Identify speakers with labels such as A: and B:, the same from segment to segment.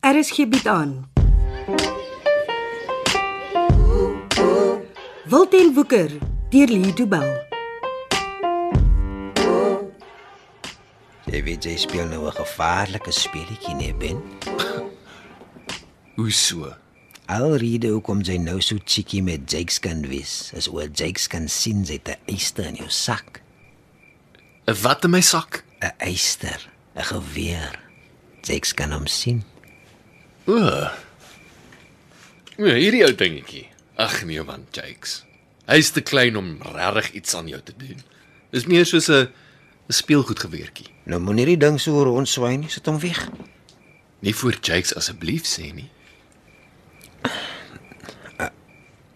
A: RSG bied Er aan. Wilten Woeker deur Lee Du Bell.
B: Jy weet jy speel nou 'n gevaarlike speletjie, nee Ben.
C: Hoe so?
B: Alrede hoekom jy nou so cheeky met Jakes kan wees, is oor Jakes kan sien jy het 'n eister in jou sak.
C: 'n Wat in my sak?
B: 'n Eister, 'n geweer. Jakes kan hom sien.
C: O. Ja, hierdie ou dingetjie. Ag nee man, Jakes. Hy's te klein om regtig iets aan jou te doen. Dis meer soos 'n 'n speelgoedgeweertjie.
B: Nou moenie die ding so rondswaai nie, sit hom weg.
C: Nie voor Jakes asseblief sê nie.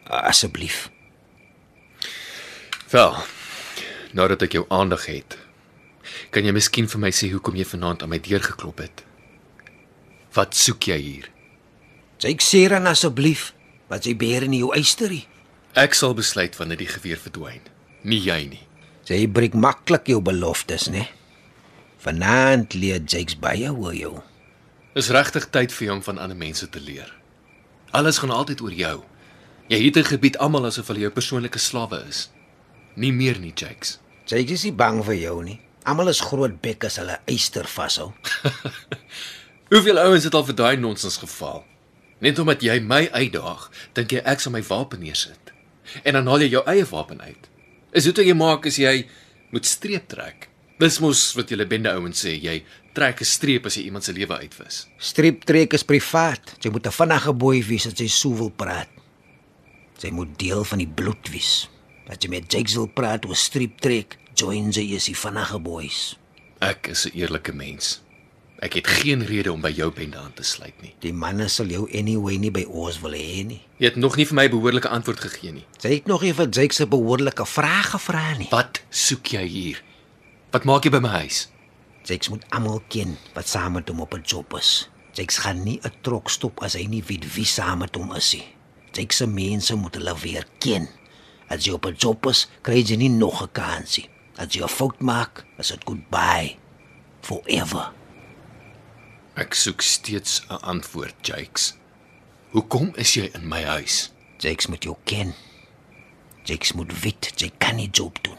B: Asseblief.
C: Wel, nou dat ek jou aandag het, kan jy miskien vir my sê hoekom jy vanaand aan my deur geklop het? Wat soek jy hier?
B: Jakes sê dan asseblief, wat jy beheer in jou eisterie.
C: Ek sal besluit wanneer die geweer verdwyn, nie jy nie.
B: Jy breek maklik jou beloftes, né? Vanaand leer Jakes baie oor jou.
C: Is regtig tyd vir jou om van ander mense te leer. Alles gaan altyd oor jou. Jy het 'n gebied almal asof hulle jou persoonlike slawe is. Nie meer nie, Jakes.
B: Jakes is nie bang vir jou nie. Almal is groot bek as hulle eister vashou.
C: Hoeveel ouens het al vir daai nonsens geval? Net omdat jy my uitdaag, dink jy ek sal my wapen neersit. En dan haal jy jou eie wapen uit. Is dit wat jy maak as jy moet streep trek? Dis mos wat julle bende ouens sê, jy trek 'n streep as jy iemand se lewe uitwis.
B: Striptrek is privaat. Jy moet 'n vinnige boei wees as jy so wil praat. Jy moet deel van die bloed wees. Dat jy met Jakes wil praat oor striptrek, join jy is die vinnige boeis.
C: Ek is 'n eerlike mens. Ek het geen rede om by jou bende aan te sluit nie.
B: Die manne sal jou anyway nie by ons wil hê nie.
C: Jy het nog nie vir my 'n behoorlike antwoord gegee nie.
B: Jy het nog nie vir Jakes 'n behoorlike vraag gevra nie.
C: Wat soek jy hier? Wat maak jy by my huis?
B: Jakes moet almal ken wat saam met hom op 'n job is. Jakes gaan nie 'n trok stop as hy nie weet wie saam met hom is nie. Jakes se mense moet hulle weer ken. As jy op 'n job is, kry jy nie nog 'n kans nie. As jy 'n fout maak, is dit goodbye forever.
C: Ek soek steeds 'n antwoord, Jakes. Hoekom is jy in my huis?
B: Jakes moet jou ken. Jakes moet weet jy kan nie job doen.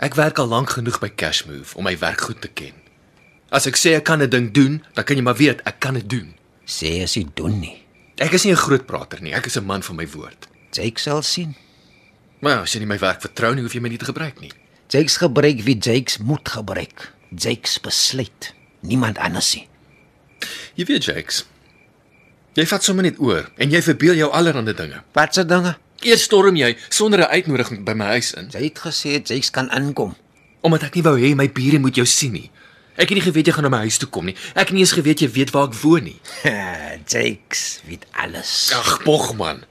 C: Ek werk al lank genoeg by Cashmove om my werk goed te ken. As ek sê ek kan 'n ding doen, dan kan jy maar weet ek kan dit doen.
B: Sê as jy doen nie.
C: Ek is nie 'n groot prater nie, ek is 'n man van my woord.
B: Jakes sal sien.
C: Maar ja, as jy nie my werk vertrou nie, hoef jy my nie te gebruik nie.
B: Jakes gebruik wie Jakes moet gebruik. Jakes besluit. Niemand anders nie.
C: Jy weet, Jakes. Jy vat sommer net oor en jy verbeel jou allerlei dinge.
B: Wat se dinge?
C: Eers storm jy sonder 'n uitnodiging by my huis in.
B: Jy het gesê Jakes kan inkom.
C: Omdat ek nie wou hê my bure moet jou sien nie. Ek het nie geweet jy gaan na my huis toe kom nie. Ek het nie eens geweet jy weet waar ek woon nie.
B: Jakes weet alles.
C: Ag, Bogman.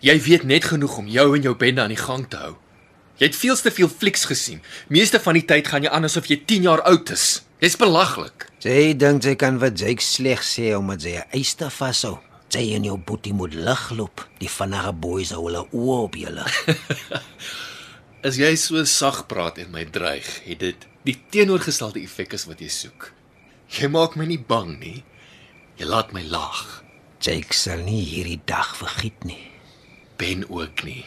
C: Jy weet net genoeg om jou en jou bende aan die gang te hou. Jy het veel te veel flieks gesien. Meeste van die tyd gaan jy aan asof jy 10 jaar oud is. Jy's belaglik.
B: Jy dink jy kan wat Jakes sleg sê omdat jy 'n eister vashou. Jy en jou boetie moet ligloop. Die vinnige boeis hou hulle oë op julle.
C: As jy so sag praat en my dreig, het dit die teenoorgestelde effek as wat jy soek. Jy maak my nie bang nie. Jy laat my lag.
B: Jakes sal nie hierdie dag vergiet nie.
C: Ben ook nie.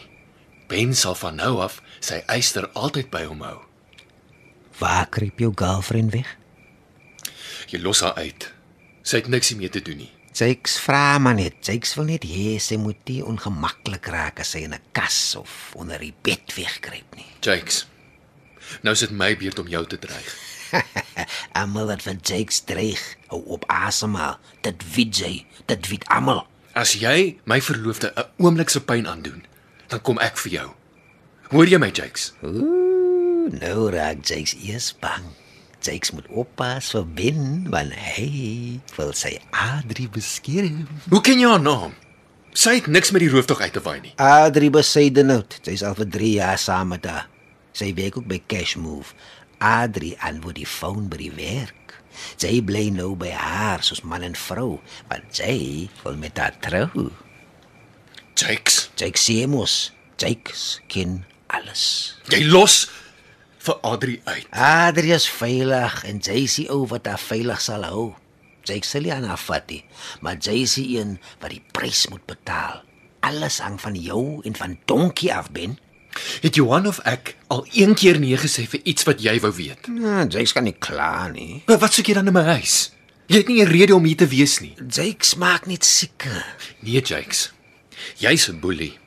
C: Ben sal van nou af sy eyster altyd by hom hou.
B: Waar kruip jou girlfriend weg?
C: Jy los haar uit. Sy het niks hiermee te doen nie.
B: Jakes vra maar net. Jakes wil net hê sy moet nie ongemaklik raak as sy in 'n kas of onder die bed wegkruip nie.
C: Jakes. Nou is dit my beurt om jou te dreig.
B: Almal wat van Jakes dreig, hou op asemhaal. Dit weet jy, dit weet almal.
C: As jy my verloofde 'n oomblik se pyn aandoen, dan kom ek vir jou. Hoor jy my, Jakes?
B: Ooh, nou raak Jakes eers bang. Jakes moet oppas vir Ben want hy wil sy Adri beskerm.
C: Hoe ken jy haar naam? Sy het niks met die rooftog uit te waai nie.
B: Adri besydenhout. Sy's al vir 3 jaar saam met haar. Sy werk ook by Cash Move. Adri antwoord die foon by die werk. Sy bly nou by haar soos man en vrou, want sy wil met haar trou.
C: Jakes,
B: Jakes sê mos, Jakes ken alles.
C: jy los vir Adri uit.
B: Adrius veilig en Jessie ou wat haar veilig sal hou. Jake sal nie aan haar vat nie, maar jy is die een wat die prys moet betaal. Alles hang van jou en van Donkie af, Ben.
C: Het Johan of ek al een keer nee gesê vir iets wat jy wou weet?
B: Ja, Jake kan nie kla nie.
C: Maar wat soek jy dan in my huis? Jy het nie 'n rede om hier te wees nie.
B: Jake smaak net seker.
C: Nee, Jakes. Jy's 'n boelie.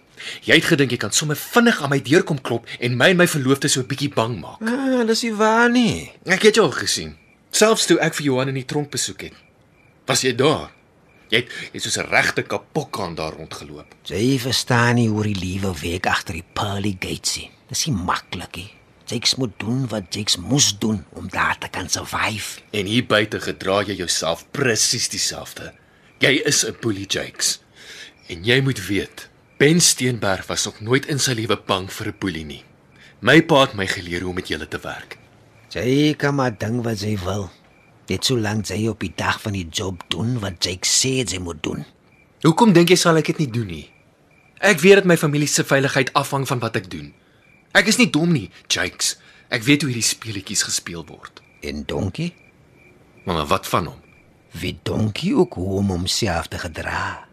C: Jy het gedink jy kan sommer vinnig aan my deur kom klop en my en my verloofde so 'n bietjie bang maak.
B: Ah, dis nie waar nie.
C: Ek het jou al gesien. Selfs toe ek vir Johan in die tronk besoek het. Was jy daar? Jy het jy het soos 'n regte kapokkaan daar rondgeloop.
B: Jy verstaan nie hoe die liewe week agter die pearly gates is. Dis nie maklik nie. Jake moet doen wat Jake moes doen om daar te kan survive.
C: En hier buite gedra jy jouself presies dieselfde. Jy is 'n boelie, Jakes. En jy moet weet, Ben Steenberg was nog nooit in sy lewe bang vir 'n boelie nie. My pa het my geleer hoe om met julle te werk.
B: Jy kan maar ding wat jy wil. Net solank jy op die dag van die job doen wat Jake sê jy moet doen.
C: Hoekom dink jy sal ek dit nie doen nie? Ek weet dat my familie se veiligheid afhang van wat ek doen. Ek is nie dom nie, Jakes. Ek weet hoe hierdie speletjies gespeel word.
B: En Donkie?
C: Maar, maar wat van hom?
B: Wie Donkie ook hoe om homself te gedra.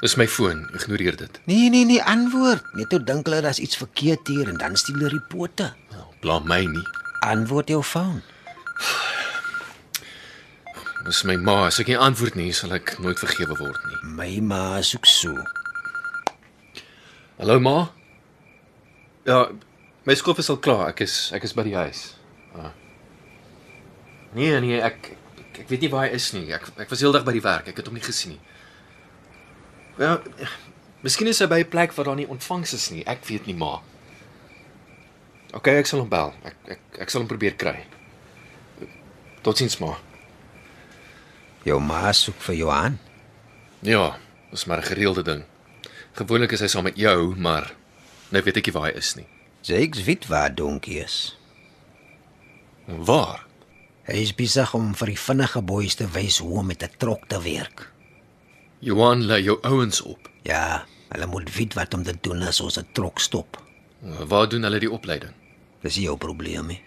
C: Dis my foon, ignoreer dit.
B: Nee, nee, nee, antwoord. Net toe dink hulle daar's iets verkeerd hier en dan steel hulle die pote.
C: Nou, blaam my nie.
B: Antwoord jou foon.
C: Dis my ma, as ek nie antwoord nie, sal ek nooit vergewe word nie.
B: My ma soek so.
C: Hallo ma? Ja, my skof is al klaar. Ek is ek is by die huis. Ah. Nee, nee, ek ek weet nie waar hy is nie. Ek ek was heeldag by die werk. Ek het hom nie gesien nie. Ja, miskien is hy by 'n plek waar daar nie ontvangs is nie. Ek weet nie, ma. OK, ek sal hom bel. Ek ek ek sal hom probeer kry. Totsiens, ma.
B: Jou ma soek vir Johan.
C: Ja, dis maar 'n gereelde ding. Gewoonlik is hy saam met jou, maar nou weet ek nie waar hy is nie.
B: Jake weet waar Donkie is.
C: Waar?
B: Hy is besig om vir die vinnige boeis te wys hoe om met 'n trok te werk.
C: Johan lei jou ouens op.
B: Ja, hulle moet weet wat om te doen as ons 'n trok stop.
C: Waar doen hulle die opleiding?
B: Dis nie jou probleem nie.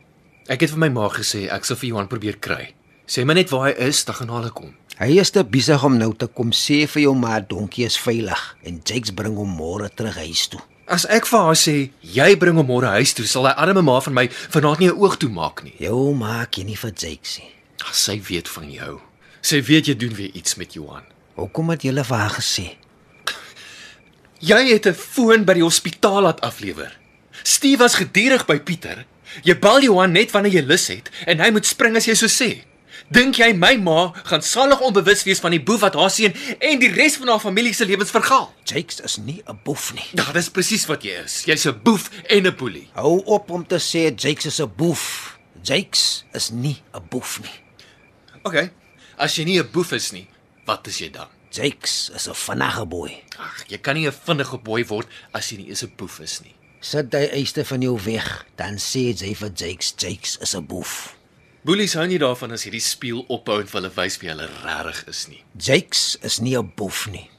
C: Ek het vir my ma gesê ek sal vir Johan probeer kry. Sê my net waar hy is, dan gaan hulle kom.
B: Hy is te besig om nou te kom sê vir jou maar Donkie is veilig en Jake bring hom môre terug huis toe.
C: As ek vir haar sê jy bring hom môre huis toe, sal hy arme ma van my vanaand nie 'n oog toe maak nie.
B: Jou maak jy nie vir Jake sien.
C: Ag, sy weet van jou. Sy weet jy doen weer iets met Johan.
B: Hoekom het jy hulle vir haar gesê?
C: Jy het 'n foon by die hospitaal laat aflewer. Steve was gedurig by Pieter. Jy bel Johan net wanneer jy lus het en hy moet spring as jy so sê. Dink jy my ma gaan salig onbewus wees van die boef wat haar seun en die res van haar familie se lewens vergaal?
B: Jake is nie 'n boef nie.
C: Ja, dis presies wat jy is. Jy's 'n boef en 'n boelie.
B: Hou op om te sê Jake is 'n boef. Jake is nie 'n boef nie.
C: OK. As jy nie 'n boef is nie, wat is jy dan?
B: Jake is 'n vinnige boei.
C: Ag, jy kan nie 'n vinnige boei word as jy nie eens 'n boef is nie.
B: Sit hy eiste van jou weg, dan sê jy vir Jakes, Jakes is 'n boef.
C: Boelies hou nie daarvan as hierdie speel ophou en vir hulle wys wie hulle regtig is nie.
B: Jakes is nie 'n boef nie.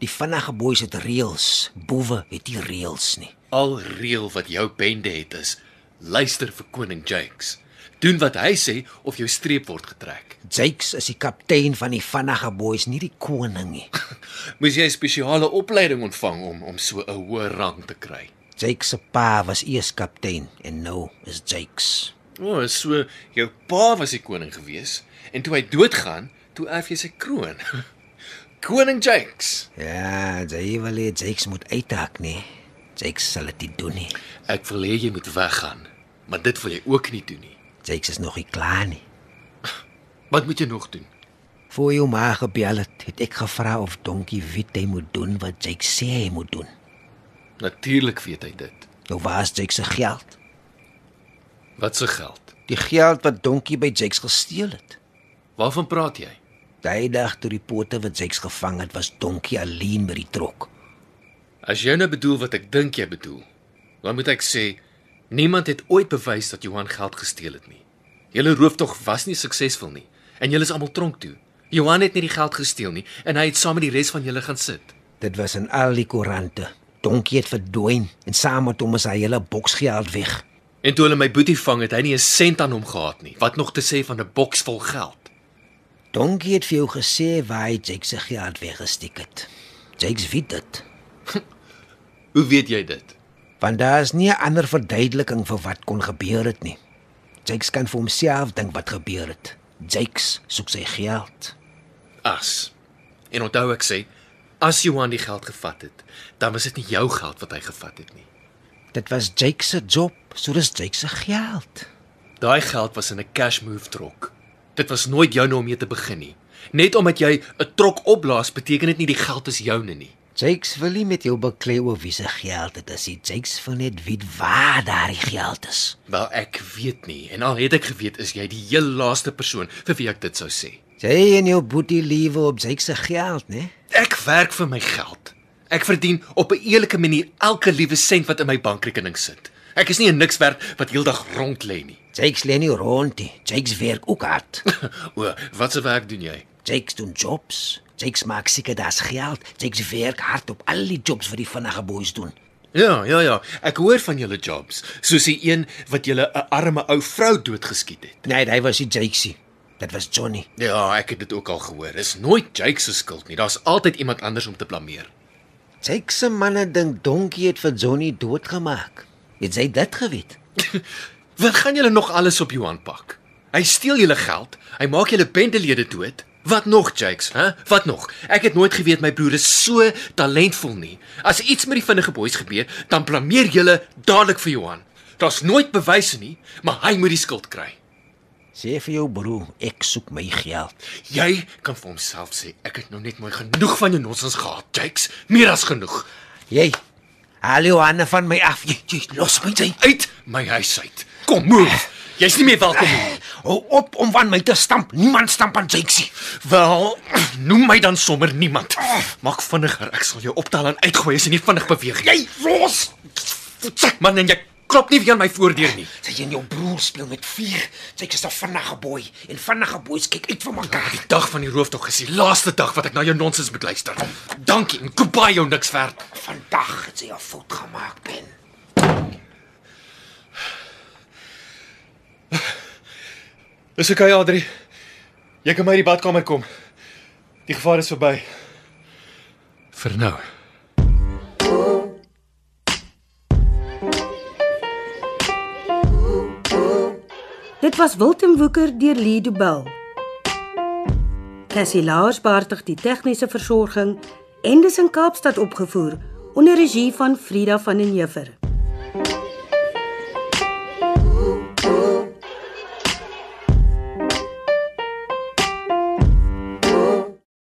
B: Die vinnige boeis het reëls, boewe het nie reëls nie.
C: Al reël wat jou bende het is: luister vir koning Jakes. Doen wat hy sê of jou streep word getrek.
B: Jakes is die kaptein van die vinnige boeis, nie die koning nie.
C: Moes jy 'n spesiale opleiding ontvang om om so 'n hoë rang te kry.
B: Jakes se pa was eers kaptein en nou is Jakes.
C: O, oh, so jou pa was die koning gewees en toe hy doodgaan, toe erf jy sy kroon. koning Jakes.
B: Ja, jy wil hê Jakes moet uithak nie. Jakes sal dit nie doen nie.
C: Ek wil hê jy moet weggaan, maar dit wil jy ook nie doen nie.
B: Jakes is nog nie klaar nie.
C: Wat moet jy nog doen?
B: Voor jou ma gebel het, het ek gevra of Donkie weet hy moet doen wat Jake sê hy moet doen.
C: Natuurlik weet hy dit.
B: Nou waar's Jake se geld?
C: Wat se geld?
B: Die geld wat Donkie by Jake gesteel het.
C: Waarvan praat jy?
B: Daai dag toe die pote wat Jake gevang het, was Donkie alleen by die trok.
C: As jy nou bedoel wat ek dink jy bedoel, dan moet ek sê niemand het ooit bewys dat Johan geld gesteel het nie. Julle rooftog was nie suksesvol nie en julle is almal tronk toe. Johan het nie die geld gesteel nie en hy het saam met die res van julle gaan sit.
B: Dit was in al die koerante. Donkie het verdwyn en saam met hom is hy hele boksgeld weg.
C: En toe hulle my boetie vang, het hy nie 'n sent aan hom gehad nie. Wat nog te sê van 'n boks vol geld.
B: Donkie het vir jou gesê waar hy Jake se geld weggesteek het. Jake weet dit.
C: Hoe weet jy dit?
B: Want daar is nie 'n ander verduideliking vir wat kon gebeur het nie. Jakes kan vir homself dink wat gebeur het. Jakes soek sy geld.
C: As. En onthou ek sê, as Johan die geld gevat het, dan was dit nie jou geld wat hy gevat het nie.
B: Dit was Jakes se job, so dis Jakes se geld.
C: Daai geld was in 'n cash move trok. Dit was nooit joune om mee te begin nie. Net omdat jy 'n trok opblaas, beteken dit nie die geld is joune nie.
B: Jakes wil nie met jou beklei oor wie se geld dit is. nie. Jakes wil net weet waar daardie geld is.
C: Wel, ek weet nie. En al het ek geweet, is jy die heel laaste persoon vir wie ek dit sou sê.
B: Jy en jou boetie liewe op Jakes se geld, né?
C: Ek werk vir my geld. Ek verdien op 'n eerlike manier elke liewe sent wat in my bankrekening sit. Ek is nie 'n niks werd wat heeldag rond lê nie.
B: Jakes lê nie rond nie. Jakes werk ook hard.
C: O, watse werk doen jy?
B: Jakes doen jobs. Jakes maak seker daar's geld. Jakes werk hard op al die jobs wat die vinnige boeis doen.
C: Ja, ja, ja. Ek hoor van julle jobs, soos die een wat julle 'n arme ou vrou doodgeskiet het.
B: Nee, hy was nie Jakesie. Dit was Johnny.
C: Ja, ek het dit ook al gehoor. Dis nooit Jake se skuld nie. Daar's altyd iemand anders om te blameer.
B: Jake se manne dink Donkie het vir Johnny doodgemaak. Het jy dit geweet?
C: Wat gaan julle nog alles op Johan pak? Hy steel julle geld. Hy maak julle bendelede dood. Wat nog, Jakes, hè? Wat nog? Ek het nooit geweet my broer is so talentvol nie. As iets met die vinnige boeis gebeur, dan blameer julle dadelik vir Johan. Daar's nooit bewyse nie, maar hy moet die skuld kry.
B: Sê vir jou broer, ek soek my geld.
C: Jy kan vir homself sê ek het nou net mooi genoeg van jou nonsens gehad, Jakes. Meer as genoeg.
B: Jy. Haal jou hande van my af. Jy, jy los my jy.
C: Uit my huis uit. Kom, move. Jy's nie meer welkom nie.
B: Hou op om van my te stamp. Niemand stamp aan Jakesie.
C: Wel, noem my dan sommer niemand. Maak vinniger, ek sal jou optel en uitgooi as jy nie vinnig beweeg nie.
B: Jy los.
C: Sek man en jy klop nie weer aan my voordeur nie.
B: Sy en jou broer speel met vuur. Jake is 'n vinnige boei en vinnige boeis kyk uit vir mekaar.
C: Die dag van die rooftog is die laaste dag wat ek na jou nonsens moet luister. Dankie en goodbye jou niks werd.
B: Vandag het sy 'n fout gemaak, Ben.
C: Dis okay, Adri. Jy kan my in die badkamer kom. Die gevaar is verby. Vir nou.
A: Dit was Wilten Woeker deur Lee Du Bell. Cassie Lars beheerdig die tegniese versorging en dis in Kaapstad opgevoer onder regie van Frida van den Heever.